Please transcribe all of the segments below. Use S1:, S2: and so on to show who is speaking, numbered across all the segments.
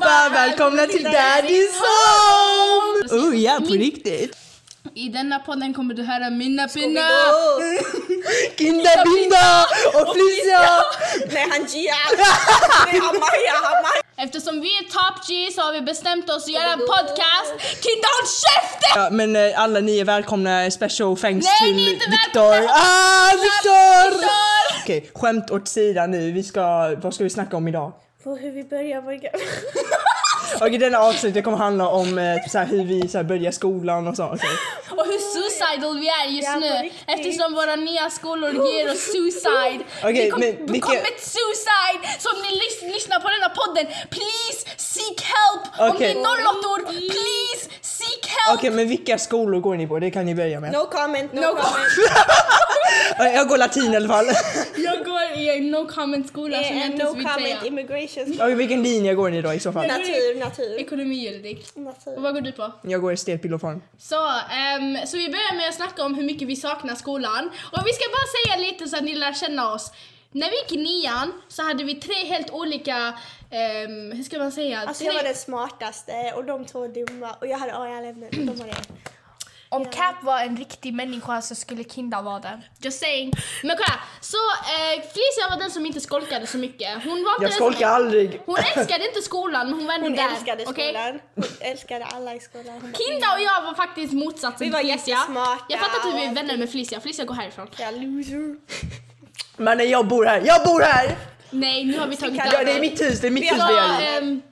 S1: Välkomna till Daddy's Home! Oh ja, på riktigt.
S2: I denna podden kommer du höra mina pinnar.
S1: Kindabinda och Felicia!
S3: Nej, han Gia! Nej, han Maja! Han Maja!
S2: Eftersom vi är top G så har vi bestämt oss att göra en podcast. Kinda håll käften!
S1: Ja, men eh, alla ni är välkomna, special thanks
S2: Nej,
S1: till
S2: ni är inte
S1: Victor.
S2: välkomna.
S1: Ah, Victor!
S2: Victor!
S1: Okej, skämt åt sidan nu. Vi ska, vad ska vi snacka om idag?
S3: På hur vi börjar vår
S1: Okej, denna avsnitt kommer handla om eh, så här, hur vi så här, börjar skolan och så. okej.
S2: Och hur suicidal vi är just
S3: Ja, på
S2: nu.
S3: riktigt.
S2: Eftersom våra nya skolor ger oss suicide.
S1: Okej,
S2: vi kom,
S1: men vilka-
S2: kom med suicide! Så om ni lys- lyssnar på denna podden, please seek help! Om ni
S1: Okej.
S2: är nollåttor,
S3: Mm.
S2: please seek help!
S1: Okej, men vilka skolor går ni på? Det kan ni börja med.
S3: No comment, no,
S2: No
S3: comment.
S1: Eh, Jag går latin i alla fall. Okej,
S2: Jag går i en no comment skola
S3: Det
S2: som jag
S3: är
S2: inte
S3: no
S2: ens vill
S3: comment
S2: säga.
S3: immigration.
S1: vilken linje går ni då i så fall?
S3: Natur, natur,
S2: Ekonomi juridik. Och
S3: natur.
S2: vad går du på?
S1: Jag går i stelpilofarm.
S2: Så, ehm, så vi börjar med att snacka om hur mycket vi saknar skolan. Och vi ska bara säga lite så att ni lär känna oss. När vi gick i nian så hade vi tre helt olika, ehm, hur ska man säga?
S3: Alltså
S2: tre...
S3: jag var den smartaste och de två var dumma och jag hade AI-ämnen de var det.
S4: Om Cap var en riktig människa så skulle Kinda vara det.
S2: Just saying. Men kolla, så eh, Felicia var den som inte skolkade så mycket. Hon var inte
S1: Jag
S2: den som-
S1: skolkar aldrig.
S2: Hon älskade inte skolan men hon var ändå
S3: Hon
S2: där.
S3: älskade
S2: okej?
S3: skolan. Hon älskade alla i skolan. Hon bara,
S2: Kinda och jag var faktiskt motsatsen
S3: Vi var
S2: till Felicia.
S3: jättesmarta
S2: Jag fattar att vi är
S3: och-
S2: vänner med Felicia. Felicia går härifrån.
S3: "Ja, loser.
S1: Men nej, jag bor här, jag bor här!
S2: Nej, nu har vi tagit
S3: kan-
S1: Ja, det är mitt hus, det är mitt hus det är i.
S2: Så, ehm,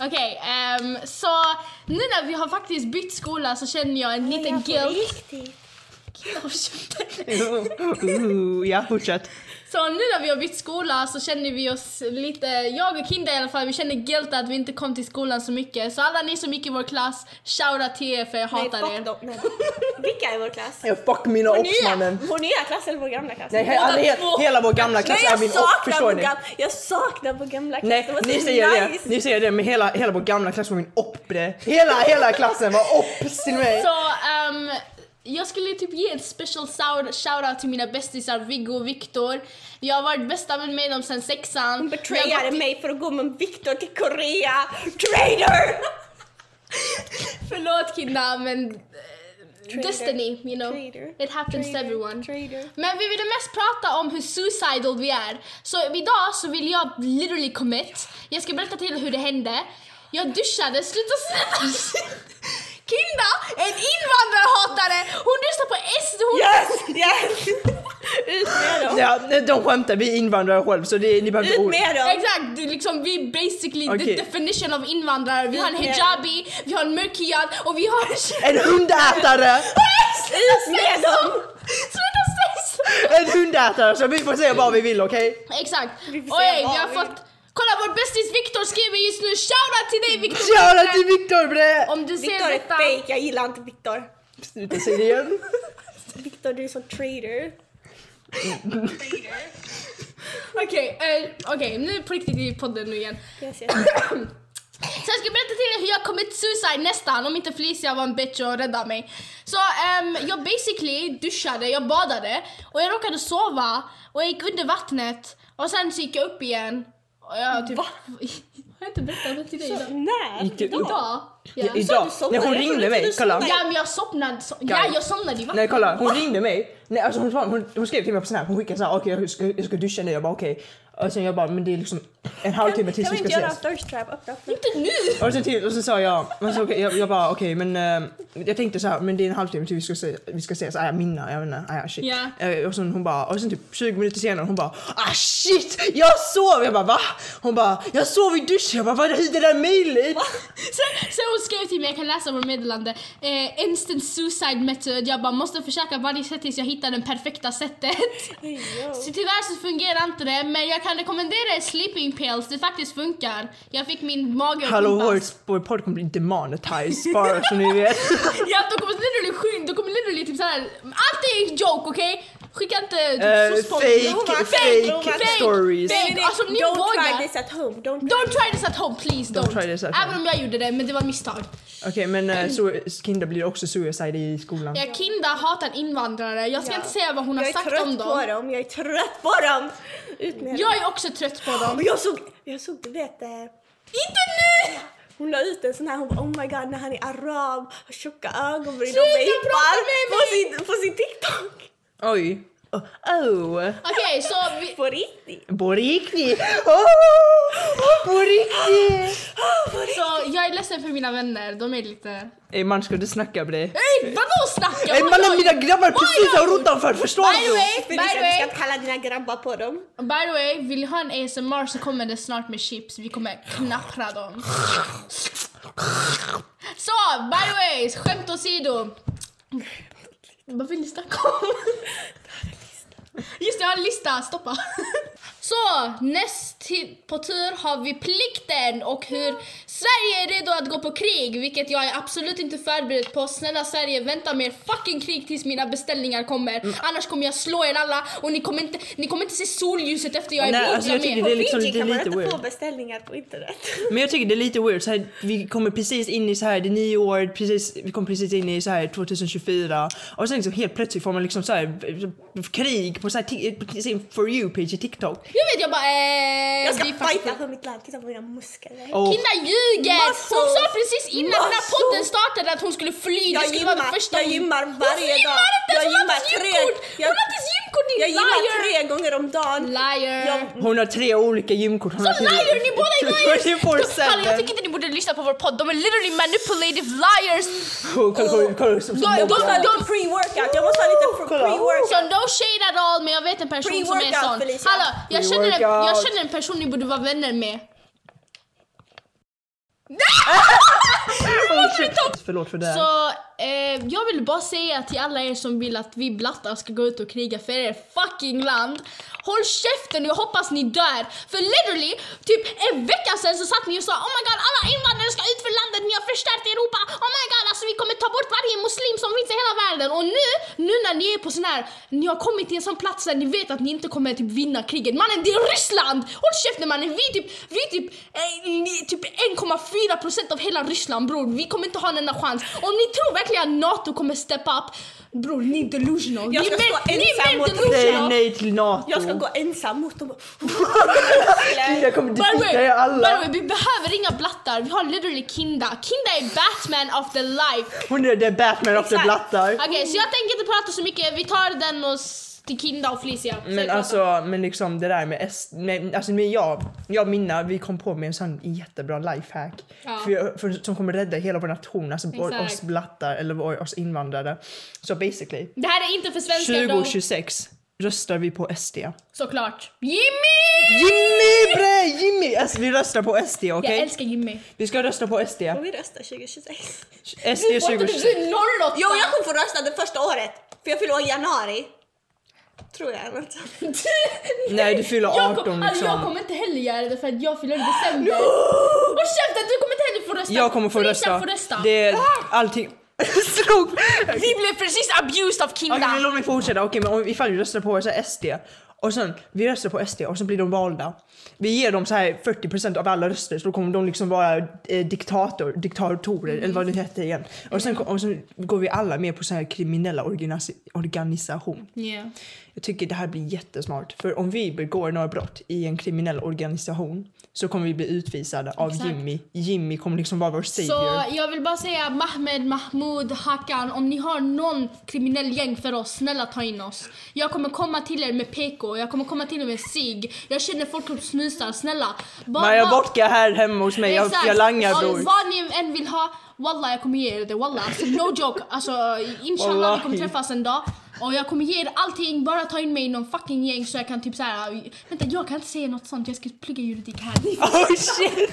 S2: Okej, ehm, så nu när vi har faktiskt bytt skola så känner jag en liten
S3: Jag på
S2: guilt.
S3: riktigt.
S1: Ooh, ja, fortsätt.
S2: Så nu när vi har bytt skola så känner vi oss lite, jag och Kinda i alla fall, vi känner guilt att vi inte kom till skolan så mycket. Så alla ni som gick i vår klass, shoutout till er för jag
S3: Nej,
S2: hatar er.
S3: fuck dem. Nej. Vilka är i vår klass?
S1: Jag fuck mina
S3: Vår
S1: ops mannen.
S3: nya, vår nya klass eller vår gamla klass?
S1: Nej, he- alla, he- hela vår gamla klass
S3: Nej,
S1: är
S3: jag
S1: min opp,
S3: saknar
S1: förstår
S3: vår
S1: ni?
S3: gam- Jag saknar vår gamla klass.
S1: Nej,
S3: det var så
S1: ni säger
S3: nice.
S1: det, ni säger det, men hela, hela vår gamla klass var min opp bre. Hela, hela klassen var opps till mig.
S2: Så ehm, jag skulle typ ge en special sound- shoutout till mina bästisar Viggo och Viktor. Jag har varit bästa vän med dem sedan sexan.
S3: Hon
S2: Vi har
S3: betrayade
S2: gått i-
S3: mig för att gå med Viktor till Korea. Traitor!
S2: Förlåt Kinda men eh, Destiny, you know.
S3: Traitor.
S2: It happens to everyone.
S3: Traitor.
S2: Men vi ville mest prata om hur suicidal vi är. Så idag så vill jag literally commit. Jag ska berätta till er hur det hände. Jag duschade, sluta sluta! Kinda, en invandrarhatare! Hon lyssnar på SD, hon
S3: Yes! Yes! Ut med dem!
S1: Ja, de skämtar, vi är invandrare själv så det, ni behöver inte
S3: Ut
S1: oroa
S3: med dem!
S2: Exakt, det är liksom vi är basically the
S1: Okej.
S2: definition av invandrare. Vi har en
S3: Mm.
S2: hijabi, vi har en mörkhyad och vi har en tjej...
S1: En hundätare!
S3: Ut med dem!
S2: Sluta säga så!
S1: En hundätare! Så vi får säga vad vi vill okej?
S2: Exakt.
S3: Vi får se
S2: Oj,
S3: vad
S2: vi har
S3: vi-
S2: fått... Kolla vår bästis Viktor skriver just nu, shoutout till dig Viktor!
S1: Shoutout till Viktor bre!
S2: Om du ser
S3: Viktor är
S2: detta...
S3: fake, jag gillar inte Viktor.
S1: Sluta säga det igen.
S3: Viktor du är sån traitor.
S2: Okej, eh, okej, nu på riktigt i podden nu igen.
S3: Yes, yes.
S2: Så jag ska berätta till er hur jag kommit suicide nästan om inte Felicia var en bitch och räddade mig. Så ehm, jag basically duschade, jag badade och jag råkade sova och jag gick under vattnet och sen så gick jag upp igen. Och jag typ... Har jag inte berättat det till dig idag?
S3: När?
S1: Gick du upp?
S2: Idag? Ja.
S1: Idag,
S3: Så du
S1: när hon
S3: somnade? Jag
S1: ringde
S3: trodde
S1: mig,
S3: du
S1: kolla.
S3: somnade.
S2: Ja men jag somnade, so- ja jag somnade i vattnet.
S1: Nej kolla, hon ringde mig. Nej, alltså hon, svarade, hon, hon skrev till mig på Snap, hon skickade såhär okej jag, ska, jag ska duscha nu, jag bara okej. Och sen jag bara men det är liksom en halvtimme tills
S3: Kan
S1: vi
S3: vi
S1: ska
S3: inte göra en
S1: ses.
S3: thirst trap? Öppna, öppna.
S2: Inte nu!
S1: Och sen, till, och sen sa jag, men så, okej, jag, jag bara okej men eh, jag tänkte såhär men det är en halvtimme tills vi ska, se, vi ska ses, ah, minna, jag vet inte, ah, shit.
S2: Ja.
S1: Eh, Och sen hon bara, och sen typ 20 minuter senare hon bara ah shit jag sov! Jag bara va? Hon bara jag sov i duschen, jag bara vad är det där möjligt?
S2: Sen, sen hon skrev till mig, jag kan läsa vårt meddelande. Eh, instant suicide method. Jag bara måste försöka varje sätt tills jag hittar det perfekta sättet.
S3: Oh.
S2: Så tyvärr så fungerar inte det, men jag kan rekommendera er sleeping pills. Det faktiskt funkar. Jag fick min mage att
S1: Hallå
S2: pumpas.
S1: vår vår podd kommer bli demonetized bara så ni vet.
S2: Ja, de kommer literally skyn, de kommer literally typ såhär. Allt är en joke, okej? Skicka inte
S1: Eh,
S2: typ uh,
S1: fake, fake,
S3: Fake, fake.
S1: stories.
S2: Nej, nej, alltså, ni
S3: Don't
S2: vågar.
S3: try this at home. Don't
S2: Don't try this at home, please don't.
S1: try this at
S2: Även
S1: home.
S2: om jag gjorde det, men det var ett misstag.
S1: Okej men eh, så Kinder blir också suicide i skolan.
S2: Jag Kinda hatar invandrare. Jag ska
S3: Ja.
S2: inte säga vad hon har
S3: Jag är
S2: sagt om
S3: trött
S2: dem.
S3: på dem. Jag är trött på dem. Ut med dem.
S2: Jag är också trött på dem.
S3: Och jag såg, jag såg du vet, eh,
S2: Inte nu!
S3: Hon la ut en sån här, hon bara oh my god när han är arab, har tjocka ögonbryn
S2: Sluta
S3: och
S2: prata
S3: vejpar
S2: med
S3: på sin, på sin TikTok.
S1: Oj. Oh. oh.
S2: Okej, så vi...
S3: På riktigt.
S1: På riktigt! Oh. På riktigt!
S2: Ah, Så jag är ledsen för mina vänner, de är lite...
S1: Ey man ska du snacka bre?
S2: Hej, vadå snacka?
S1: Ey mannen mina grabbar precis har rotanför förstår
S2: By the
S1: du?
S2: way, by
S3: Felicia
S2: the
S3: du ska
S2: way,
S3: inte kalla dina grabbar på dem.
S2: by the way, vill ni ha en ASMR så kommer det snart med chips, vi kommer knappra dem. Så, by the way, skämt åsido. Vad vill ni snacka om? Just det, jag har en lista, stoppa. Så, näst till- på tur har vi plikten och hur Sverige är redo att gå på krig, vilket jag är absolut inte förberedd på. Snälla Sverige, vänta med er fucking krig tills mina beställningar kommer.
S1: Mm.
S2: Annars kommer jag slå er alla och ni kommer inte, ni kommer inte se solljuset efter jag är
S1: Nej,
S2: borta
S1: alltså jag tycker
S2: med.
S1: det är
S3: På
S1: liksom
S3: Fiji
S1: det är
S3: kan man
S1: lite
S3: inte
S1: weird.
S3: få beställningar på internet.
S1: Men jag tycker det är lite weird, så här, vi kommer precis in i så här, det är nio år, precis, vi kommer precis in i så här 2024 och sen liksom helt plötsligt får man liksom så här eh, krig på, så här, ti- på sin For you-page i TikTok.
S2: Jag vet, jag bara eh,
S3: Jag ska
S2: vi fucking-
S3: fighta för mitt land, titta på mina muskler.
S1: Och
S2: Kinda ljuger!
S3: Massor.
S2: Hon sa precis innan den här
S3: Massor.
S2: podden startade att hon skulle fly.
S3: Jag
S2: det skulle vara det
S3: gymmar,
S2: första
S3: jag
S2: hon-
S3: gymmar varje
S2: Hon
S3: dag.
S2: gymmar inte! ens,
S3: Jag
S2: Hon har inte
S3: gymmar
S2: ens gymkort!
S3: tre- jag-
S2: Hon har inte ens gymkort din
S3: Jag
S2: liar!
S3: gymmar tre gånger om dagen.
S2: Liar!
S3: Jag-
S1: hon har tre olika gymkort. Hon
S2: Så
S1: har till-
S2: liar ni båda är liars!
S1: 24/7.
S4: Hallå, jag tycker inte ni borde lyssna på vår podd. De är literally manipulative liars.
S1: Kolla, kolla, kolla, kolla, som- som
S3: Jag måste ha
S1: mobbar.
S3: lite pre-workout, jag måste ha lite fr-
S1: Kolla.
S2: Så
S3: pre-workout.
S2: no shade at all men jag vet en person som är
S3: Pre-workout,
S2: sån.
S3: Felicia.
S2: Hallå, jag känner, en,
S1: Pre-workout.
S2: jag känner en person ni borde vara vänner med.
S1: Oh, shit. Förlåt för det. här.
S2: Så eh, jag vill bara säga till alla er som vill att vi blattar ska gå ut och kriga för er fucking land. Håll käften och jag hoppas ni dör. För literally, typ en vecka sedan så satt ni och sa Oh my god alla invandrare ska ut för landet, ni har förstört Europa. Oh my god alltså vi kommer ta bort varje muslim som finns i hela världen. Och nu, nu när ni är på sån här, ni har kommit till en sån plats där ni vet att ni inte kommer typ vinna kriget. Mannen det är Ryssland! Håll käften mannen, vi är typ, vi är typ, eh, ni, typ 1,4 procent av hela Ryssland bror. Vi kommer inte ha en enda chans. Om ni tror verkligen att NATO kommer steppa upp, bror ni är delusional.
S3: Jag
S2: ni
S3: ska
S2: är mer-
S3: stå
S2: ni är mer
S3: ensam mot-
S1: Säg
S2: delusional.
S1: nej till NATO.
S3: Jag ska gå ensam mot dem.
S1: Jag kommer
S2: By
S1: depita
S2: the way,
S1: er
S2: by the
S1: alla.
S2: way, vi behöver inga blattar, vi har literally Kinda. Kinda är Batman of the life.
S1: Hon är the Batman of the
S3: Exakt.
S1: blattar.
S2: Okej, så jag tänker inte prata så mycket. Vi tar den och s- till Kinda och Felicia. Säg
S1: Men
S2: prata.
S1: alltså, men liksom det där med S, men, alltså men jag, jag och Minna, vi kom på med en sån jättebra lifehack.
S2: Ja.
S1: För, för, som kommer rädda hela vår nation, alltså vår,
S2: Exakt.
S1: oss blattar eller vår, oss invandrare. Så basically,
S2: Det här är inte för svenskar då.
S1: 2026 röstar vi på SD.
S2: Såklart. Jimmy!
S1: Jimmy bre! Jimmy! Alltså, vi röstar på SD okej?
S2: Jag älskar Jimmy.
S1: Vi ska rösta på SD.
S3: Får vi rösta 2026?
S1: SD 2026.
S2: Du är 08!
S3: Jo, jag kommer få rösta det första året. För jag fyller år i januari. Tror jag. eller nåt.
S1: Nej du fyller
S2: Jag,
S1: 18
S2: kom, alltså, jag
S1: liksom.
S2: kommer inte heller göra det för att jag fyller i december. Håll käften, du kommer inte heller få rösta.
S1: Jag kommer få
S2: Felicia
S1: rösta.
S2: får rösta. Ah!
S1: Det är allting. Slog.
S4: Vi blev precis abused av Kinda.
S1: Okej men låt mig fortsätta, okej men om, ifall vi röstar på så här SD och sen vi röstar på SD och sen blir de valda. Vi ger dem så här 40% av alla röster så då kommer de liksom vara eh, diktator, diktatorer eller vad det heter igen. Och sen, och sen går vi alla med på så här kriminella organis- organisation.
S2: Yeah.
S1: Jag tycker det här blir jättesmart för om vi begår några brott i en kriminell organisation så kommer vi bli utvisade av
S2: Exakt.
S1: Jimmy. Jimmy kommer liksom vara vår savior.
S2: Så jag vill bara säga Mahmed, Mahmoud, Hakan, om ni har någon kriminell gäng för oss, snälla ta in oss. Jag kommer komma till er med PK, jag kommer komma till er med sig. Jag känner folk som snusar, snälla. Bara,
S1: Man jag vodka här hemma hos mig, jag,
S2: Exakt.
S1: jag langar
S2: Om
S1: bror.
S2: Vad ni än vill ha, wallah jag kommer ge er det. Wallah. Alltså, no joke. Alltså, inshallah vi kommer
S1: Wallahi.
S2: träffas en dag. Och jag kommer ge er allting, bara ta in mig i någon fucking gäng så jag kan typ såhär... Vänta jag kan inte säga något sånt, jag ska plugga juridik här.
S1: Oh shit!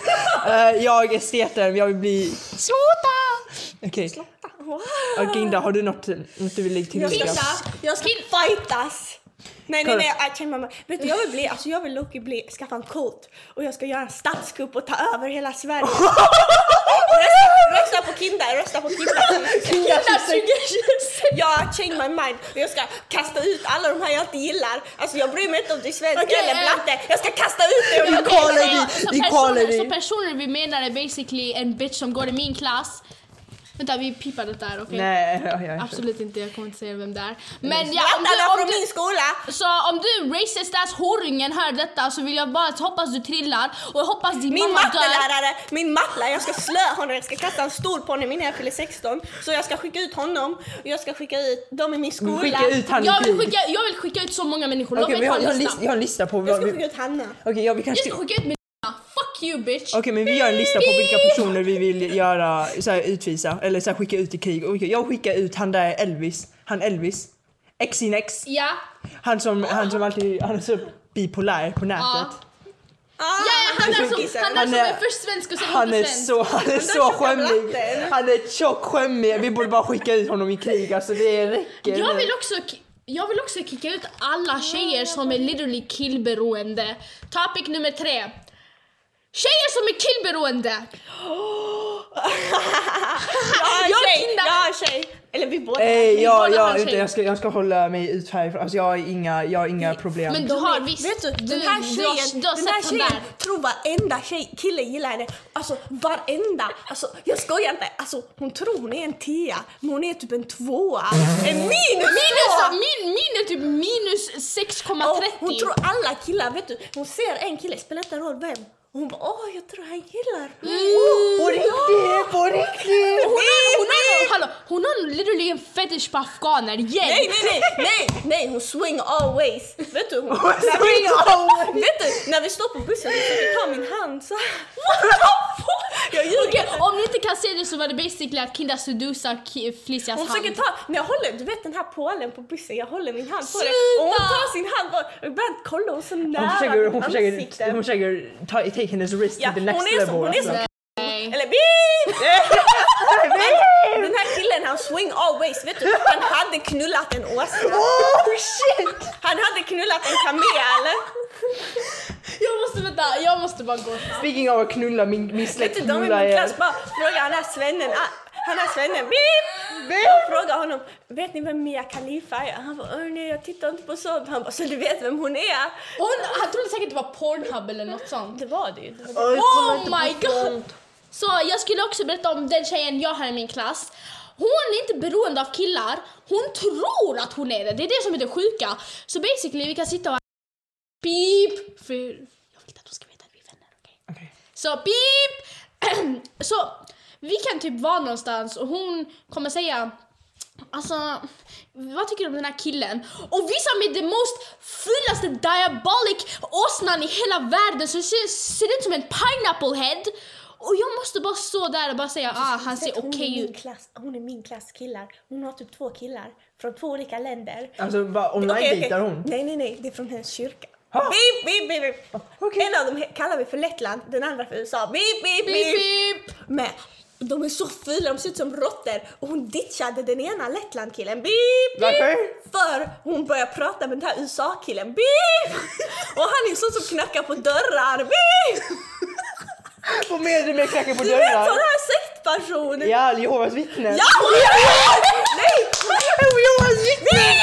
S1: Eh, jag är esteten, jag vill bli... Slåta! Okej,
S3: Wow.
S1: okay. Ginda har du något, något du vill lägga till?
S3: Jag ska,
S1: Ginda?
S3: jag ska
S2: Kill-
S3: fightas. Nej nej
S1: Kolla.
S3: nej, jag mamma. Vet du, jag vill bli, alltså jag vill Loki bli, skaffa en kult och jag ska göra en statskupp och ta över hela Sverige. rösta, rösta på Kinda, rösta på Kinda. Jag har changed my mind och jag ska kasta ut alla de här jag inte gillar. Alltså jag bryr mig inte om du är svensk
S2: Okej, eh.
S3: eller blatte. Jag ska kasta ut dig om
S1: Vi
S3: jag
S1: kallar
S3: vill.
S1: dig-
S2: Alltså, Så
S1: vi kallar
S2: personer,
S1: dig-
S2: så personer vi menar är basically en bitch som går i min klass. Vänta, vi pipar det där, okej?
S1: Nej, ja, ja, ja.
S2: Absolut inte, jag kommer inte säga vem det är. Men ja,
S3: Skratta
S2: om
S3: alla
S2: du, om
S3: från
S2: du,
S3: min skola!
S2: så om du racist ass horungen hör detta så vill jag bara hoppas du trillar och jag hoppas din
S3: Min
S2: mamma dör.
S3: mattelärare, min mattelärare, jag ska slöa honom, jag ska kasta en stol på honom innan jag fyller 16. Så jag ska skicka ut honom, och jag ska skicka ut dem i min skola.
S1: Skicka ut han i
S2: Jag vill,
S1: krig.
S2: skicka, jag vill skicka ut så många människor,
S1: Okej,
S2: låt
S1: vi
S2: mig ta
S1: har, jag, har
S2: en
S1: en lista,
S2: lista.
S1: jag har en lista på
S3: Jag
S1: vad
S3: ska
S1: vi...
S3: skicka
S1: Okej,
S3: ut Hanna.
S1: ja, vi
S2: Jag
S1: kanske...
S2: ska skicka ut min lista. Fuck you bitch!
S1: Okej, men vi gör en lista på vilka personer vi vill göra, så här, utvisa eller så här, skicka ut i krig. Okej, jag skickar ut han där Elvis, han Elvis. Exinex.
S2: Ja,
S1: Han som, han som alltid, han är så bipolär på nätet.
S2: ja.
S3: Ah,
S2: Ja, ja, han är som,
S3: tjockisen.
S2: han är
S1: Han
S2: som
S1: är-
S2: är först svensk och sen
S1: Han är
S2: inte svensk.
S1: så, han är så
S3: tjocka
S1: skämmig.
S3: blatten.
S1: Han är tjock skämmig. Vi borde bara skicka ut honom i krig. Alltså det räcker.
S2: Jag vill också ki- jag vill också kicka ut alla tjejer som är literally killberoende. Topic nummer tre. Tjejer som är killberoende!
S3: Jag har
S2: Jag
S3: en
S2: är
S3: tjej,
S2: Linda.
S3: jag har en tjej. Eller vi båda.
S1: Nej, jag,
S2: båda
S1: jag,
S2: har
S1: inte,
S2: tjejer.
S1: jag, ska, jag ska hålla mig ut härifrån. Alltså, jag, har inga, jag har inga problem.
S2: Men du
S3: De
S2: har
S3: är-
S2: visst...
S3: Vet du, den
S2: du-
S3: här
S2: du har-
S3: tjejen,
S2: du har
S3: den här
S2: sett
S3: tjejen
S2: honom där.
S3: tror varenda tjej, kille gillar henne. Alltså varenda. Alltså jag skojar inte. Alltså hon tror hon är en tia, men hon är typ en tvåa. En minus
S2: Minus,
S3: tvåa!
S2: min, min är typ minus 6,30.
S3: Och hon tror alla killar, vet du. Hon ser en kille, spelar inte roll vem. Och hon bara åh jag tror han gillar.
S1: på riktigt, på riktigt!
S2: Hon har, hon har, hallå, hon har literally en fetish på afghaner.
S3: Nej,
S2: Hjälp!
S3: nej, nej, nej, nej, hon swing always. Vet du, hon,
S1: swing always.
S3: Vet du, när vi står på bussen så försöker hon ta min hand så här. Jag ljuger.
S2: Okej, om ni inte kan se det så var det basically att Kinda sedusa Ki- Felicias
S3: Hon försöker
S2: hand.
S3: ta, när jag håller, du vet den här pålen på bussen, jag håller min hand på den
S2: Sluta!
S3: och hon tar sin hand bara- och ibland kollar hon så nära
S1: Hon försöker, hon
S3: mitt
S1: försöker,
S3: ansikte.
S1: hon försöker ta, take hennes wrist
S3: Ja,
S1: to the
S3: hon
S1: next
S3: är så,
S1: level.
S3: hon är
S1: alltså.
S3: så.
S2: Nej.
S3: Eller beep! Den här killen han swing always, vet du, han hade knullat en åsna.
S1: Oh shit!
S3: Han hade knullat en kamel.
S2: Jag måste vänta, jag måste bara gå.
S1: Speaking of att knulla, min, min
S3: Vet
S1: släkt
S3: du, de i min
S1: knullar er.
S3: klass bara frågar han här svennen, ah, han här svennen, beep! Jag frågar honom, vet ni vem Mia Khalifa är? Han bara, "Åh, nej jag tittar inte på sånt. Han bara, så du vet vem hon är?
S2: Hon, han trodde säkert det var Pornhub eller något sånt.
S3: Det var det ju. Det var det.
S1: Oj, kolla
S2: Oh
S1: inte på
S2: my god!
S1: sånt.
S2: Så jag skulle också berätta om den tjejen jag har i min klass. Hon är inte beroende av killar, hon tror att hon är det. Det är det som är det sjuka. Så basically vi kan sitta och... Beep! För jag vill inte att de ska veta att vi är vänner, okej?
S1: Okej.
S2: Så beep! Så vi kan typ vara någonstans och hon kommer säga Alltså, vad tycker du om den här killen? Och visar mig den most fullaste diabolic åsnan i hela världen som ser, ser ut som en pineapple head. Och jag måste bara stå där och bara säga ah, han ser
S3: Vet, Alltså, hon
S2: okej
S3: är min
S2: ut.
S3: Klass, hon är min klass killar. Hon har typ två killar från två olika länder.
S1: Alltså bara
S3: Okej,
S1: online-dejtar
S3: okej.
S1: hon.
S3: Nej, nej, nej. Det är från hennes kyrka.
S1: Ha!
S3: Beep, beep, beep, beep.
S1: okej.
S3: En av dem he- kallar vi för Lettland, den andra för USA. Beep, beep, beep.
S2: Beep, beep.
S3: Men de är så fula, de ser ut som råttor. Och hon ditchade den ena Lettland-killen. Beep, beep.
S1: Varför?
S3: För hon började prata med den här USA-killen. Beep! Och han är en sån som knackar på dörrar. Beep!
S1: Vad menar du med knacka på
S3: Du vet
S1: dörrar?
S3: sån här sektperson.
S1: Ja, Jehovas vittnen.
S3: Ja! hon är- Nej!
S1: Jehovas vittnen!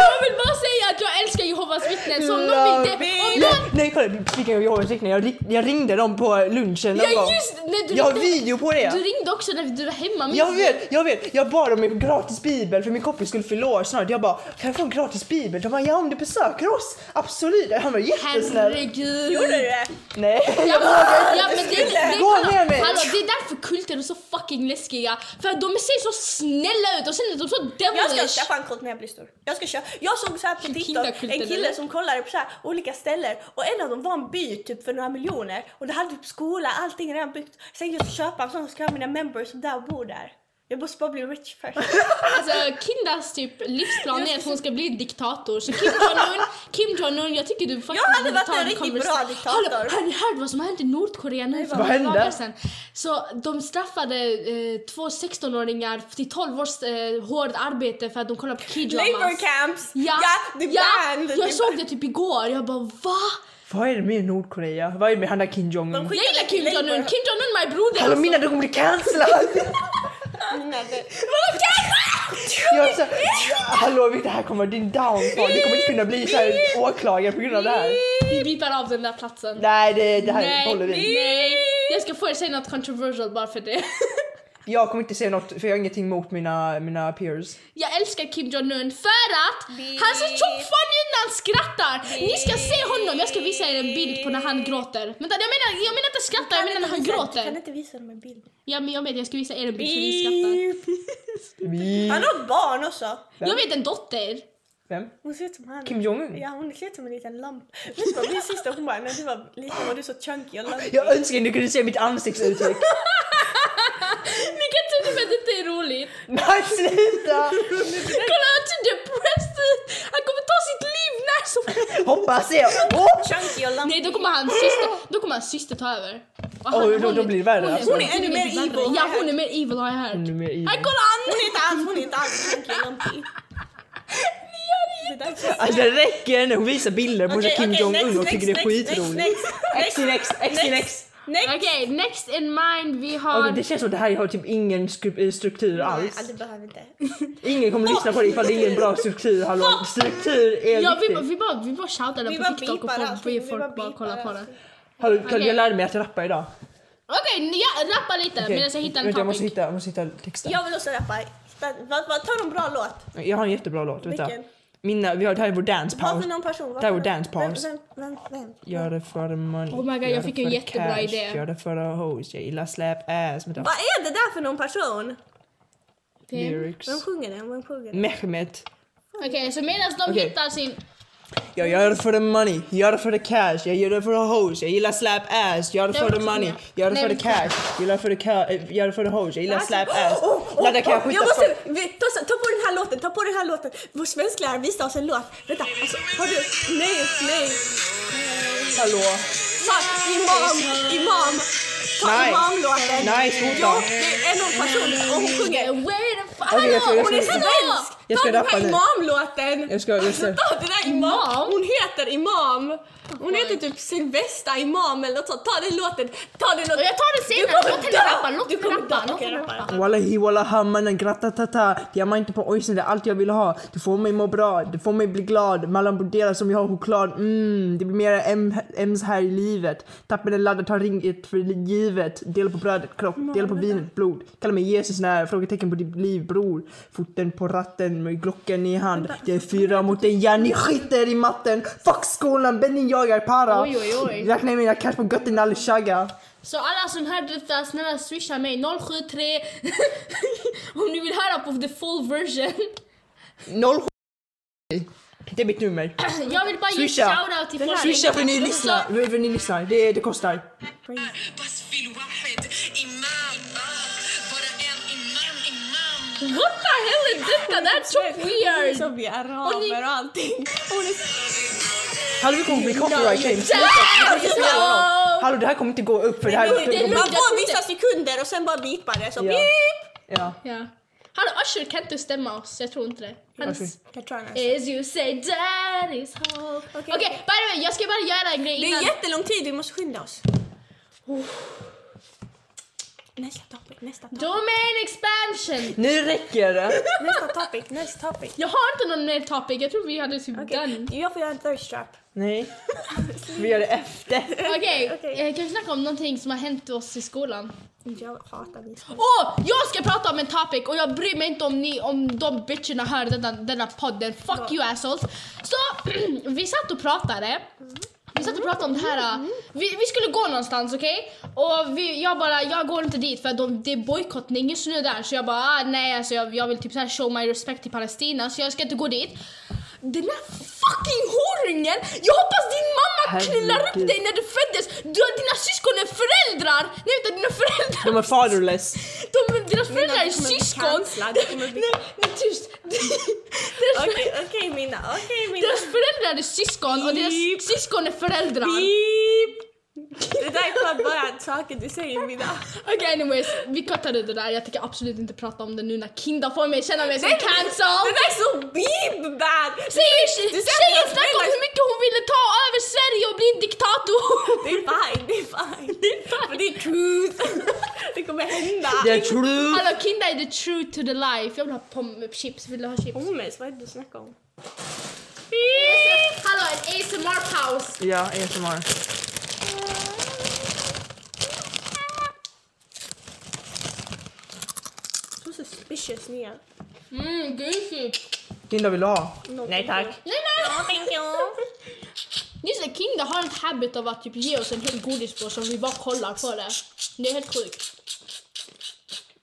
S2: Jag vill bara säga att jag älskar Jehovas vittnen så om någon vill det... Om
S1: Nej,
S2: någon,
S1: nej kolla, speaking of Jehovas vittnen, jag, ring- jag ringde dem på lunchen någon
S2: ja
S1: gång.
S2: just när du,
S1: Jag har
S2: ringde-
S1: video på det.
S2: du ringde också när du var hemma. minns
S1: Jag
S2: du?
S1: vet, jag vet. Jag bad om en gratis bibel för min kompis skulle fylla år snart. Jag bara, kan jag få en gratis bibel? De bara, ja om du besöker oss. Absolut. Han var jättesnäll.
S2: Herregud.
S3: Gjorde du det?
S1: Nej.
S2: Ja, men- ja, men det, det, det,
S1: Gå
S2: kolla,
S1: ner mig.
S2: hallå, det är därför kulter är så fucking läskiga. För att de ser så snälla ut och sen är de så
S3: Jag ska
S2: devilish.
S3: skaffa en kult när jag blir stor. Jag ska köra. Jag såg så här på TikTok
S2: Kinderkulten,
S3: en kille
S2: eller?
S3: som kollade på så här olika ställen och en av dem var en by typ för några miljoner och det hade typ skola, allting redan byggt. Sen jag ska köpa en sån och ska ha mina members som där och bor där. Jag måste bara bli rich först.
S2: Alltså, Kindas typ livsplan är att hon ska bli diktator. Så Kim Jong-Un, Kim Jong-Un, jag tycker du faktiskt
S3: Jag hade
S2: borde
S3: varit
S2: ta
S3: en
S2: en
S3: riktigt
S2: konversa-
S3: bra diktator.
S2: Hallå, har ni hört vad som har hänt i Nordkorea nu för
S1: vad
S2: några
S1: hände?
S2: dagar sedan? Så de straffade eh, två 16-åringar till 12 års eh, hårt arbete för att de kollade på
S3: Labour
S2: K-dramas.
S3: camps!
S2: Ja,
S3: ja, det är
S2: ja,
S3: band! Det är
S2: jag såg det typ igår. Jag bara va?
S1: Vad är det med Nordkorea? Vad är det med han där Kim
S3: De
S1: Jong-Un?
S3: skickade
S2: Jag gillar Kim
S3: till Labour.
S2: Jong-Un, Kim Jong-Un my broder!
S1: Hallå mina, du kommer bli cancellad!
S3: Mina- det-
S2: Vadå Kim?
S1: Jag så, ja, hallå det här kommer din downfall. Du kommer inte kunna bli så här åklagare på grund av det här.
S2: Alltså, Vi bipar av den där platsen.
S1: Nej, det, det här
S2: nej,
S1: håller vi.
S2: nej. Jag ska få er säga något controversial bara för det.
S1: Jag kommer inte säga något för jag har ingenting mot mina, mina peers.
S2: Jag älskar Kim Jong-Un för att han ser tjock fan ut när han skrattar! Ni ska se honom, jag ska visa er en bild på när han gråter. Vänta, jag menar, jag menar inte skrattar, jag menar när han
S3: Du kan
S2: gråter.
S3: inte visa dem en bild.
S2: Ja, men jag vet, jag ska visa er en bild så ni skrattar.
S1: Vi-
S3: Han har ett barn också.
S1: Vem?
S2: Jag vet en dotter.
S1: Vem?
S3: Hon ser ut som han.
S1: Kim Jong-Un?
S3: Ja, hon ser ut som en liten lampa. Vet du vad, min syster hon bara, när du var liten var du så chunky och lumpy.
S1: Jag önskar att ni kunde se mitt ansiktsuttryck.
S2: Ni kan tro att detta är roligt.
S1: Nej sluta!
S2: Kolla han ser depressed ut! Han kommer ta sitt liv när som helst!
S1: Hoppas jag! Åh!
S3: Chunky och
S2: Nej
S3: lumpy.
S2: då kommer hans syster, då kommer hans syster ta över. Och han-
S1: Oj, då- då
S2: hon är-
S1: blir det värre, alltså.
S2: Hon är ännu mer evil. Ja hon är mer evil har jag hört.
S1: Hon är mer evil.
S2: Nej kolla han!
S3: Hon är inte alls, hon är inte alls chunky och lumpy. Det där är så-
S1: Alltså det räcker när hon visar bilder på
S3: Okej,
S1: Kim
S3: okej,
S1: Jong-Un
S3: next,
S1: och tycker det är
S3: next, next,
S1: skitroligt.
S3: next, next,
S1: Next, next, next.
S3: next.
S2: Okej, next in mind vi
S1: Ja,
S2: har...
S1: men det känns som att det här har typ ingen skru- eh, struktur
S3: Nej, alltså,
S1: alls.
S2: alltså,
S3: det behöver inte.
S1: Ingen kommer lyssna på det ifall det är ingen bra struktur. Hallå. Struktur är
S2: Ja vi, bara-
S1: viktigt.
S2: vi bara, vi bara shoutar den
S3: Vi
S2: på
S3: bara
S2: TikTok och
S3: beepar
S2: folk,
S3: allting, vi
S2: folk bara,
S3: bara
S2: kollar
S3: beepar
S2: på den.
S3: allting.
S1: Hallå, kolla,
S2: Okej.
S1: Jag lärde mig att rappa idag.
S2: Okej, jag rappar lite
S1: Okej,
S2: medan jag hittar
S1: vänta,
S2: en
S1: jag,
S2: topic.
S1: måste hitta, jag måste hitta texten.
S3: Jag vill också rappa. Ta- vad- vad- Ta någon bra låt.
S1: Jag har en jättebra låt. Vänta.
S3: Vilken?
S1: Mina, vi har, det här är vår dance
S3: Vad
S1: paus.
S3: för någon person? Vad
S1: Där
S3: för
S1: var
S3: någon-
S1: dance pause.
S3: Vem, vem, vem, vem?
S1: Gör det för money.
S2: Oh my God,
S1: gör
S2: jag
S1: det
S2: fick en
S1: för
S2: jättebra
S1: cash,
S2: idé.
S1: Gör det för a hose. Jag gillar slap ass. Vänta.
S3: Vad är det där för någon person?
S2: Okej,
S1: Lyrics.
S3: Vem sjunger den? Vem sjunger den?
S1: Mehmet.
S2: så medan de
S1: Okej.
S2: hittar sin...
S1: Jag gör det för the money, jag gör det för the cash, jag gör det för the hoes, jag gillar slap ass, jag gör det
S2: Nej,
S1: för the
S2: men-
S1: money, jag gör det
S2: Nej,
S1: för the
S2: men-
S1: cash, jag gillar för the ca- eh, jag gör det för the hoes, jag gillar slap ass.
S3: Oh, oh, oh,
S1: Ladda kan jag
S3: oh,
S1: skjuta
S3: jag
S1: på-
S3: måste, vi, ta, ta på den här låten, ta på den här låten. Vår svensklärare visade oss en låt. Vänta, alltså, har du? Nej, nej.
S1: Hallå?
S3: Fan, imam, imam. Ta
S1: Nej.
S3: imamlåten.
S1: Nej, sluta.
S3: Jo, det är någon person och hon sjunger.
S2: Wait a fuck!
S1: Okej, jag ska-
S2: Hallå!
S1: jag
S2: Hon
S1: ska-
S2: är
S1: jag ska-
S2: svensk!
S1: Jag ska
S3: ta den
S1: rappa
S3: här
S1: nu.
S3: imamlåten.
S1: Jag ska- jag ska-
S3: Ta den där
S2: Imam?
S3: imam. Hon heter imam. Hon heter typ Silvesta imam eller något sånt. Ta den låten. Ta den
S2: Och
S3: låten.
S2: jag tar det
S3: Du
S2: senare,
S3: kommer
S2: låt henne
S3: dö.
S2: rappa, låt
S3: Du
S2: henne
S3: kommer
S2: rappa,
S3: dö.
S2: låt
S3: Okej,
S2: henne
S3: rappa,
S2: rappa.
S1: Wallahi wallaha mannen grattatata Diamanter på ojsen, det är allt jag vill ha Du får mig må bra, du får mig bli glad Mellan broderar som jag har choklad mm, Det blir mera M- M's här i livet Tappen är laddad, tar ringet för givet Dela på brödet, kropp, dela på vinet, blod Kalla mig Jesus när, frågetecken på ditt liv bror Foten på ratten med klockan i hand Jag är fyra mot en ja ni skiter i matten Fuck skolan, Benny jagar para
S2: Oj, oj, oj.
S1: Räkna mina cash på götten, aldrig tjagga
S2: Så alla som hörde detta, snälla swisha mig 073 om ni vill höra på the full version.
S1: 07 Det är mitt nummer
S2: Jag vill bara ge en
S1: Swisha.
S2: shoutout till folk.
S1: Swisha för ni lyssnar, för ni lyssnar. Det, det kostar.
S5: بس في الواحد إمام برقان إمام إمام
S2: Så, What the hell är detta? Det här är så weird!
S3: Som vi araber och allting. Hon är
S1: Hallå vi kommer bli copyright claim. Hallå det här kommer inte gå upp för det här...
S2: det är
S3: Man
S2: lugnt.
S3: får vissa sekunder och sen bara bipar det så
S1: Ja.
S3: ja.
S1: Ja.
S2: Ja. Hallå Usher kan inte stämma oss, jag tror inte det. Hans...
S1: Usher.
S3: Jag tror han är så.
S2: As you say that is hope. Okej,
S3: Eh, Okej.
S2: by the way, jag ska bara göra en grej
S3: Det
S2: innan.
S3: är jättelång tid, vi måste skynda oss. Nästa topic, nästa topic,
S2: Domain expansion!
S1: Nu räcker det.
S3: nästa topic, nästa topic.
S2: Jag har inte någon mer topic, jag tror vi hade typ done.
S3: Jag får göra en thirst trap.
S1: Nej. Vi gör det efter.
S2: Okej,
S3: Okej.
S2: eh, kan vi snacka om någonting som har hänt oss i skolan?
S3: Jag hatar min skola.
S2: Åh, jag ska prata om en topic och jag bryr mig inte om ni, om de bitcherna hör denna, denna podden. Fuck you assholes. Så vi satt och pratade. Vi satt och pratade om det här. äh, Vi, vi skulle gå någonstans, okej? Och vi, jag bara, jag går inte dit för de, det är bojkottning just nu där. Så jag bara, ah, nej alltså jag, jag vill typ så här show my respect till Palestina så jag ska inte gå dit. Den där fucking horungen! Jag hoppas din mamma
S1: Herregud.
S2: knullar upp dig när du föddes! Du har dina syskon är föräldrar! Nej vänta, dina föräldrar!
S1: De är fatherless.
S2: De, deras föräldrar är
S3: det kommer bli
S2: syskon!
S3: cancellad, det kommer bli-
S2: Nej, nej tyst! deras,
S3: Okej, okej Minna, okej Minna.
S2: deras föräldrar är syskon och deras
S3: Beep.
S2: syskon är föräldrar!
S3: Beep! Det där är fan bara saker du säger Minna.
S2: Okej anyways, vi cuttade det där. Jag tänker absolut inte prata om det nu när Kinda får mig känna mig som
S3: Det
S2: cancel!
S3: där är så beep bad!
S2: Säger,
S3: du säger
S2: tjejen
S3: deras
S2: snackade om
S3: föräldrar-
S2: hur mycket hon ville ta över Sverige och bli en diktator!
S3: Det är fine, det är fine. För det är truth. Det kommer hända?
S1: Det tror
S2: Hallå Kinda är the true to the life. Jag vill ha pommes-chips. Vill du ha chips?
S3: Pommes, vad är det du snackar om?
S2: Hallå en ASMR-paus.
S1: Ja, ASMR.
S3: Så suspicious ni är.
S2: Mm, grisigt.
S1: Linda vill du ha?
S3: Nej tack.
S2: Nej, nej! Just det, Kinda har en habit av att typ ge oss en hel godispåse som vi bara kollar på det. Det är helt sjukt.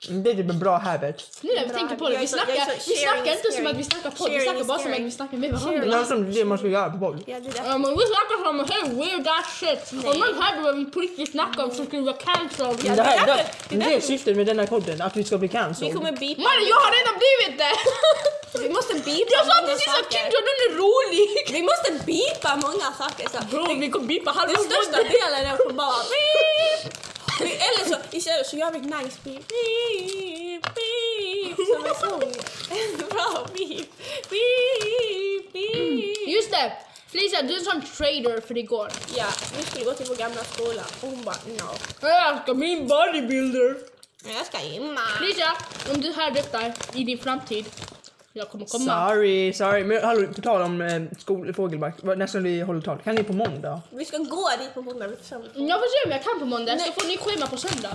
S1: Det är typ en bra habit.
S2: Nu när vi
S3: Bra,
S2: tänker på det,
S3: jag
S2: vi
S3: är så- jag är
S2: snackar,
S3: så-
S2: vi
S3: sharing
S2: snackar
S3: is
S2: inte som
S3: caring.
S2: att vi snackar på vi
S3: Sharing
S2: snackar
S3: is
S2: bara som att
S3: caring.
S2: vi snackar med
S1: Det
S2: varandra.
S1: är som det man ska göra på boll.
S3: Ja, det är
S2: Ja,
S3: därför.
S2: men vi snackar som hey weird that shit. Om någon hörde vad vi på riktigt snackade om så skulle vi vara cancelled.
S1: Det, här,
S3: därför-
S1: det,
S3: det
S1: det,
S3: är
S1: är
S3: därför-
S1: syftet med den här podden, att vi ska bli
S3: Vi
S1: cancelled.
S3: kommer beepa.
S2: Mannen jag har redan blivit det!
S3: Vi måste beepa
S2: Jag sa
S3: många
S2: precis att
S3: saker.
S2: Kinda den är rolig!
S3: Vi måste beepa många saker. Så.
S2: Bro, vi kommer beepa halva
S3: Den största
S2: podden.
S3: delen är att bara beep. Vi- Eller så istället så gör vi ett nice beep. Beep, beep. Som en sång. En bra beep. Beep, beep.
S2: Just det! Felicia, du är en sån trader för igår.
S3: Ja, vi skulle gå till vår gamla skola och hon bara no.
S2: Jag älskar min bodybuilder!
S3: Men jag ska gymma.
S2: Felicia, om du hör detta i din framtid, jag kommer komma.
S1: Sorry, sorry. Men hallå, på tal om eh, skol, Fågelmark, vad- när ska vi hålla tal? Kan ni på måndag?
S3: Vi ska gå dit på måndag. Vi församlar.
S2: Jag får se om jag kan på måndag,
S3: Nej.
S2: så får ni schema på söndag.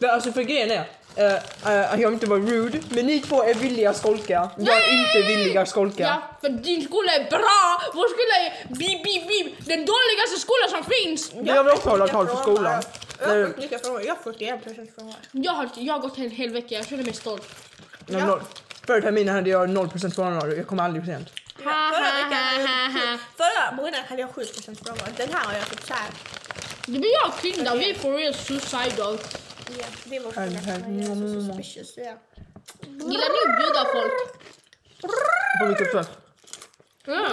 S1: För, alltså för grejen är, eh, eh, jag vill inte vara rude, men ni två är villiga att skolka. Jag är inte villig att skolka.
S2: Ja. för din skola är bra! Vår skola är bip, bip, bip, den dåligaste skolan som finns!
S1: Men Jag vill också hålla tal för skolan.
S3: Jag
S1: Nej,
S3: har fått lika frånvaro. Jag har 41 procents frånvaro.
S2: Jag har, jag har gått en hel vecka, jag känner mig stolt.
S1: jag har noll- Förra terminen hade jag 0% frånvaro, jag kommer aldrig för sent.
S2: Ha,
S3: Förra
S2: ha,
S3: veckan hade
S2: ha,
S3: jag
S2: ha, ha.
S3: sju- Förra månaden hade jag 7 procents frånvaro. Den här har jag typ såhär.
S2: Det blir jag och Klinda, vi är for real suicidal.
S3: Ja, det var
S1: Här, här.
S3: så suspicious. Ja.
S2: Gillar ni att bjuda folk?
S1: På vilket sätt?
S2: Mm.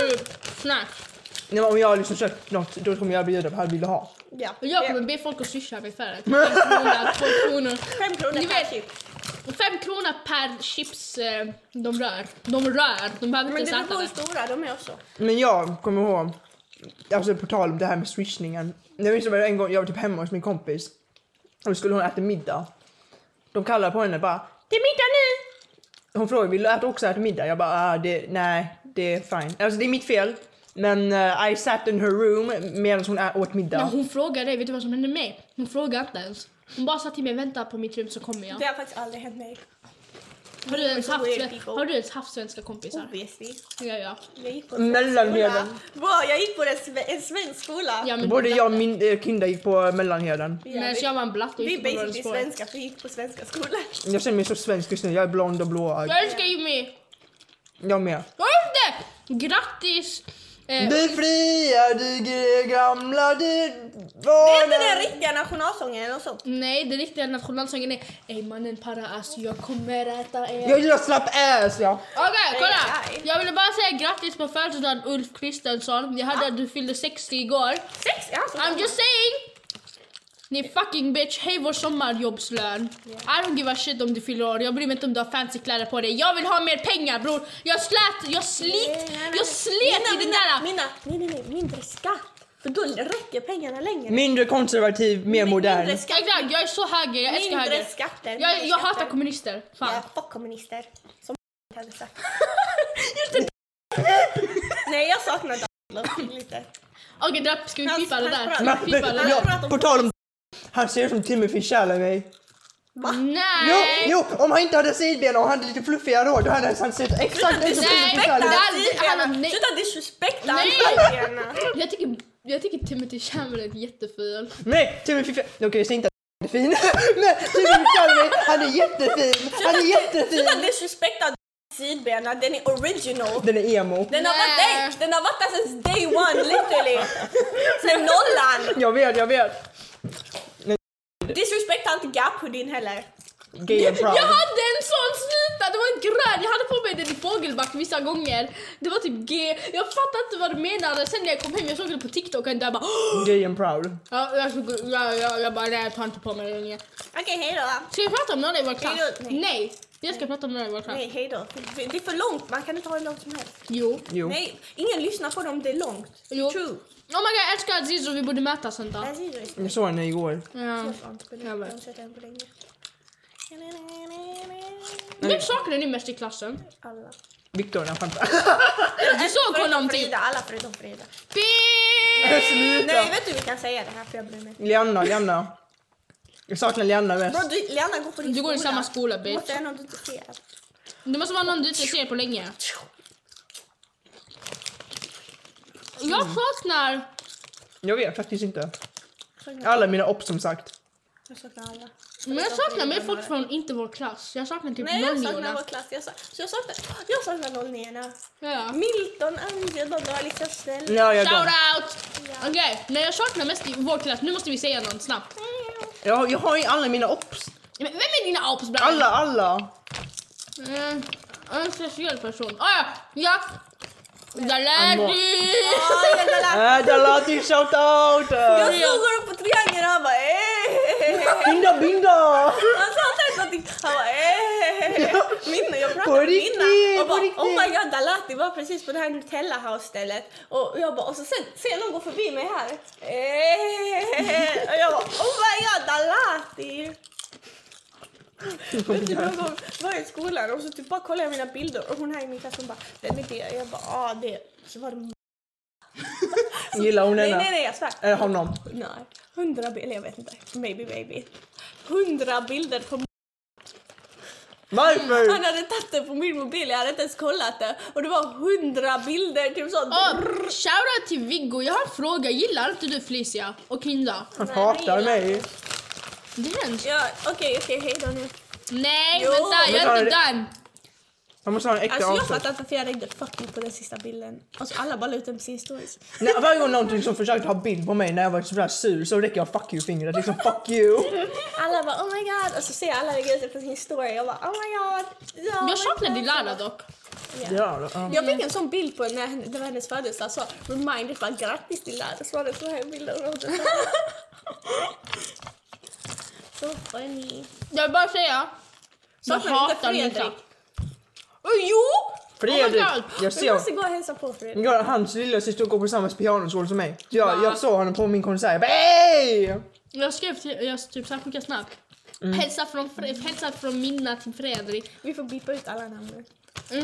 S2: Typ snacks.
S1: Nej, men om jag har liksom köpt något, då kommer jag bjuda på vad vill du ha?
S3: Ja.
S2: Och jag kommer be folk att swisha mig för det. Fem kronor, två kronor.
S3: Fem kronor
S2: Ni
S3: per
S2: vet-
S3: typ. chip.
S2: Fem kronor per chips eh, de rör. De rör, de behöver
S3: Men det
S2: inte
S3: beror
S2: äta
S3: på hur
S2: det.
S3: stora de är också.
S1: Men jag kommer ihåg, alltså på tal om det här med swishningen. Jag minns det var en gång jag var typ hemma hos min kompis och då skulle hon äta middag. De kallade på henne bara “Det är middag nu!” Hon frågade “Vill du äta också äta middag?” Jag bara ah, det, “Nej, det är fine. Alltså det är mitt fel. Men eh, I sat in her room medan hon ä- åt
S2: Men
S1: middag.
S2: hon frågade dig, vet du vad som hände med mig? Hon frågade inte ens. Hon bara sa till mig vänta på mitt rum så kommer jag.
S3: Det har faktiskt aldrig hänt mig.
S2: Har du ens
S3: so
S2: haft,
S3: weird
S2: sve-
S3: people.
S2: har du ens haft svenska kompisar?
S3: Obviously.
S2: Ja, ja.
S3: Jag gick på
S1: Mellanheden.
S3: skola. Wow, jag gick på en, sve- en svensk skola.
S2: ja men
S1: Både jag och min eh, kinda gick på mellanheden.
S3: Ja,
S2: Medan
S3: vi-
S2: jag var en blatte och
S3: Vi
S2: gick
S3: är
S2: på Norrens typ spår.
S3: basically svenska för vi gick på svenska skolor.
S1: Jag känner mig så svensk just nu. Jag är blond och blåögd.
S2: Jag älskar Jimmy!
S1: Jag med.
S2: Jag älskar det! Grattis! Eh,
S1: Du fria, du gre- gamla, du
S3: Är inte
S1: barnen.
S3: den riktiga nationalsången eller något sånt?
S2: nej, den riktiga nationalsången är Ey mannen para ass, jag kommer äta er.
S1: Jag gillar slapp ass ja.
S2: Okej, kolla!
S3: Aj, aj.
S2: Jag ville bara säga grattis på födelsedagen Ulf Kristensson. Jag
S3: Ah.
S2: hörde att du fyllde 60 igår.
S3: Sex? Ja, så
S2: I'm just saying! Ni fucking bitch, hej vår sommarjobbslön. I don't give a shit om du fyller år, jag bryr mig inte om du har fancy kläder på dig. Jag vill ha mer pengar bror! Jag slät, jag slit, jag slet i den där...
S3: Mina, nej nej nej, mindre skatt. För då räcker pengarna längre.
S1: Mindre konservativ, mer modern.
S3: Mindre skatt.
S2: Exakt, jag är så höger, jag älskar
S3: Mindre
S2: höger.
S3: skatter.
S2: Jag,
S3: mindre
S2: jag
S3: skatter.
S2: hatar kommunister. Fan.
S3: Ja, fuck kommunister. Som hade sagt. Nej, jag saknar Donald lite.
S2: Okej Drapp, ska vi
S3: Hans-
S2: pipa det
S3: hans
S2: där?
S3: bra.
S2: Ska
S1: Men,
S2: vi
S1: men,
S2: pipa det där?
S1: ja, på tal om han ser ut som Timothy Chalamet. Jo,
S2: Nej!
S1: jo, om han inte hade sidben och hade lite fluffigare hår då hade han sett exakt ut som
S2: Nej,
S1: Timothy
S2: vänta.
S1: Chalamet.
S2: hallå, nej.
S3: Sluta disrespekta
S2: Nej.
S3: alfabeterna.
S2: Jag tycker, jag tycker Timothy Chalamet är jätteful.
S1: Nej, Timothy Chalamet. Okej, jag säger inte att han är fin. Men Timothy Chalamet, han är jättefin. Han är
S3: Sluta
S1: jättefin.
S3: disrespekta sidbena, den är original.
S1: Den är emo.
S3: Den har, varit
S2: Nej.
S3: där, den har varit där since day one literally. Sen nollan.
S1: Jag vet, jag vet.
S3: Disrespekta inte gap-hoodien heller.
S1: Gay and proud.
S2: Jag hade en sån snuta, det var en grön, jag hade på mig den i fågelback vissa gånger. Det var typ G, jag fattade inte vad du menade. Sen när jag kom hem, jag såg det på TikTok och jag bara
S1: Gay and proud.
S2: ja, jag, såg, ja, ja, jag bara nej jag tar inte på mig den längre.
S3: Okej, hej då.
S2: Ska vi prata om några i vår klass?
S3: Nej, då- nej.
S2: Nej, jag ska prata om några i vår klass.
S3: Nej, hej då. Det är för långt, man kan inte ha det långt som helst.
S2: Jo.
S1: Jo.
S3: Nej, ingen lyssnar på dem, det är långt.
S2: Jo.
S3: True.
S2: Oh my god, jag älskar Aziz och vi borde mötas en dag.
S3: Aziz är
S1: Jag såg henne igår.
S2: Ja. Jag
S3: Jag
S2: vet.
S3: har inte sett den på länge.
S2: Vem saknar ni mest i klassen?
S3: Alla.
S1: Viktor när han skämtade.
S2: Du såg honom typ.
S3: Frida, alla förutom Frida.
S2: Beep!
S3: Nej,
S1: Sluta!
S3: vet du vi kan säga det här för jag bryr mig inte.
S1: Lianna, Lianna. Jag saknar Lianna
S3: Bro,
S1: mest.
S3: du, Lena går på din
S2: Du går i samma skola
S3: Du
S2: bitch.
S3: måste ändå inte se.
S2: Det måste vara någon du inte ser på länge. Jag
S3: Mm.
S2: saknar...
S1: Jag vet faktiskt inte. Alla mina upp som sagt.
S3: Jag saknar alla.
S2: Men jag saknar mer folk från inte vår klass. Jag saknar typ
S3: Nej, jag saknar
S2: någon
S3: vår klass. Jag, sa, så jag saknar, jag saknar 09
S2: Ja.
S3: Milton, Angela, de var liksom snälla.
S1: Ja, jag,
S2: Shout
S1: går.
S2: out! Okej, nej jag saknar mest i vår klass. Nu måste vi säga någon snabbt.
S1: jag, jag har ju alla mina upps.
S2: Men vem är dina apor bland
S1: Alla, alla.
S2: Mm, en speciell person. Ah, ja, ja. Daladi!
S3: Ja, jag gillar-
S1: Äh, Dalati shoutout!
S3: Jag såg honom på triangeln och han bara eh.
S1: Binda, binda!
S3: Han sa inte någonting. Han bara eh. Minna, jag
S1: På
S3: pratade med
S1: riktigt,
S3: Minna och
S1: på
S3: bara
S1: riktigt.
S3: oh my god Dalati var precis på det här Nutella house stället och jag bara och så sen ser jag någon gå förbi mig här. Eh. Och jag bara oh my god Dalati.
S1: Oh
S3: Vet du, någon gång var jag i skolan och så typ bara kollade jag mina bilder och hon här i min klass hon bara den är det. Jag bara ah det. Så var det
S1: Gillar hon
S3: Nej nej
S1: henne?
S3: nej jag svär.
S1: Eller honom?
S3: Nej, hundra bilder, eller jag vet inte, maybe maybe. Hundra bilder på m-
S1: Varför?
S3: Han hade tagit det på min mobil, jag hade inte ens kollat det. Och det var hundra bilder, typ sånt.
S2: Oh, shoutout till Viggo. Jag har en fråga. Gillar inte du Felicia och Kinda?
S1: Han hatar mig.
S2: Det är en...
S3: Ja, okej, okej, hej då nu.
S2: Nej,
S3: Jo.
S2: vänta. Jag är
S1: Men
S2: inte
S1: har
S2: done.
S1: Han måste ha en äkta
S3: Alltså jag
S1: avslut.
S3: fattar inte varför jag ringde fucking på den sista bilden. Alltså alla bara la ut den på sin stories.
S1: Nej, Varje gång någon liksom försökte ha bild på mig när jag var sådär sur så räcker jag fuck you-fingret. Liksom fuck you.
S3: Alla bara oh my god, och så ser jag alla lägga ut det på sin story. Jag bara oh my god. Ja,
S2: Jag saknar
S3: men-
S2: Dilara dock.
S1: Ja, ähm. då, ja.
S3: Jag fick
S2: Mm.
S3: en sån bild på henne när henne- det var hennes födelsedag så reminder bara grattis till Lara så var det så här bilder och så här. Så funny.
S2: Jag vill bara säga. Jag
S3: Saknar du inte
S2: hatar min
S3: Fredrik?
S2: klass. Oh, jo!
S1: Fredrik,
S2: Oh my God.
S1: jag
S3: Vi
S1: ser
S3: måste gå och hälsa på Fredrik.
S1: jag, hans lillasyster går på samma pianoskola som mig. Jag,
S2: Va?
S1: jag såg honom på min konsert. Jag bara, "Hey!"
S2: Jag skrev till... Jag typ så här skickade snabbt. Hälsa, från, Fre- hälsa från Minna till Fredrik.
S3: Vi får bipa ut alla namn nu.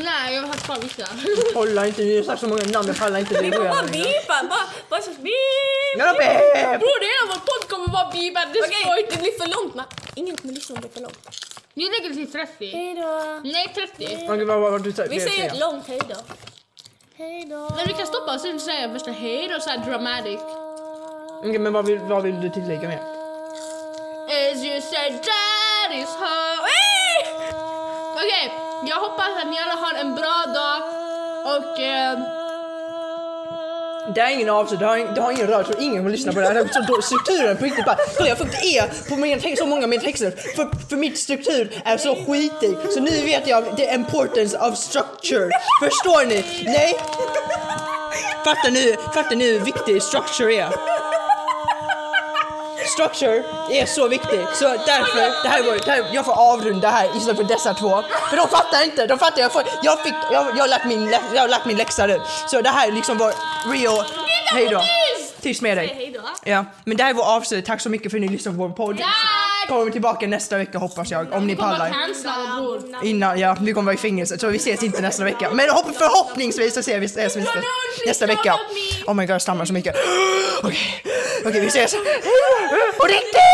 S2: Nej, jag har kvar vissa.
S1: Kolla inte, ni har sagt så många namn. Jag pallar inte. Det går jag
S3: Bara
S1: längre.
S3: bipa! Bara, bara så bip!
S1: Ja, babe!
S2: Bror, det hela vår podd kommer vara bibad. Det
S3: Okej,
S2: okay.
S3: det blir för långt man. Ingen kommer lyssna om det är för långt.
S2: Nu lägger vi till 30.
S3: Hejdå!
S2: Nej, 30.
S1: Okej, vad var du sa?
S3: Vi säger ett långt hejdå. Hejdå!
S2: Men vi kan stoppa och sen säga värsta hej och så här dramatic.
S1: Okej, men vad vill, vad vill du tillägga mer?
S2: As you said that is how... Hey! Okej, jag hoppas att ni alla har en bra dag och... ehm,
S1: Det är ingen avslut, det har, ing- det har ingen rör, så ingen kommer lyssna på det här. Det är så dålig strukturen på riktigt bara. Kolla jag har fått E på mina tex- så många av mina texter. För, för mitt struktur är så skitig. Så nu vet jag the importance of structure. Förstår ni? Nej? Fattar ni, fattar ni hur viktig structure är? Structure är så viktig. Så därför, det här var, det här, jag får avrunda här istället för dessa två. För de fattar inte, de fattar. Jag, får, jag, fick, jag, jag, har lagt min, lä- jag har lagt min läxa nu. Så det här är liksom var real... Hejdå. Tyst med dig.
S3: Hejdå!
S1: Ja, men det här var avslut. Tack så mycket för att ni lyssnade på vår podd.
S2: Tack!
S1: Kommer tillbaka nästa vecka hoppas jag, om ni
S2: kommer vara
S1: pallar.
S2: cancellade bror.
S1: Innan, ja, vi kommer vara i fängelse så vi ses inte nästa vecka. Men hopp, förhoppningsvis så ses vi ses vi nästa, nästa vecka. Oh my god, jag stammar så mycket. Okej, okej vi ses. På riktigt!